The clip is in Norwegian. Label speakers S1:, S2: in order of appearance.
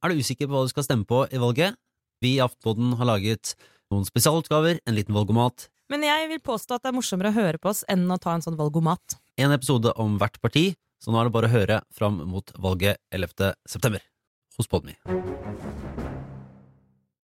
S1: Er du usikker på hva du skal stemme på i valget? Vi i Aftenpodden har laget noen spesialutgaver, en liten valgomat,
S2: Men jeg vil påstå at det er morsommere å høre på oss enn å ta en sånn valgomat.
S1: en episode om hvert parti, så nå er det bare å høre fram mot valget 11. september hos Podme.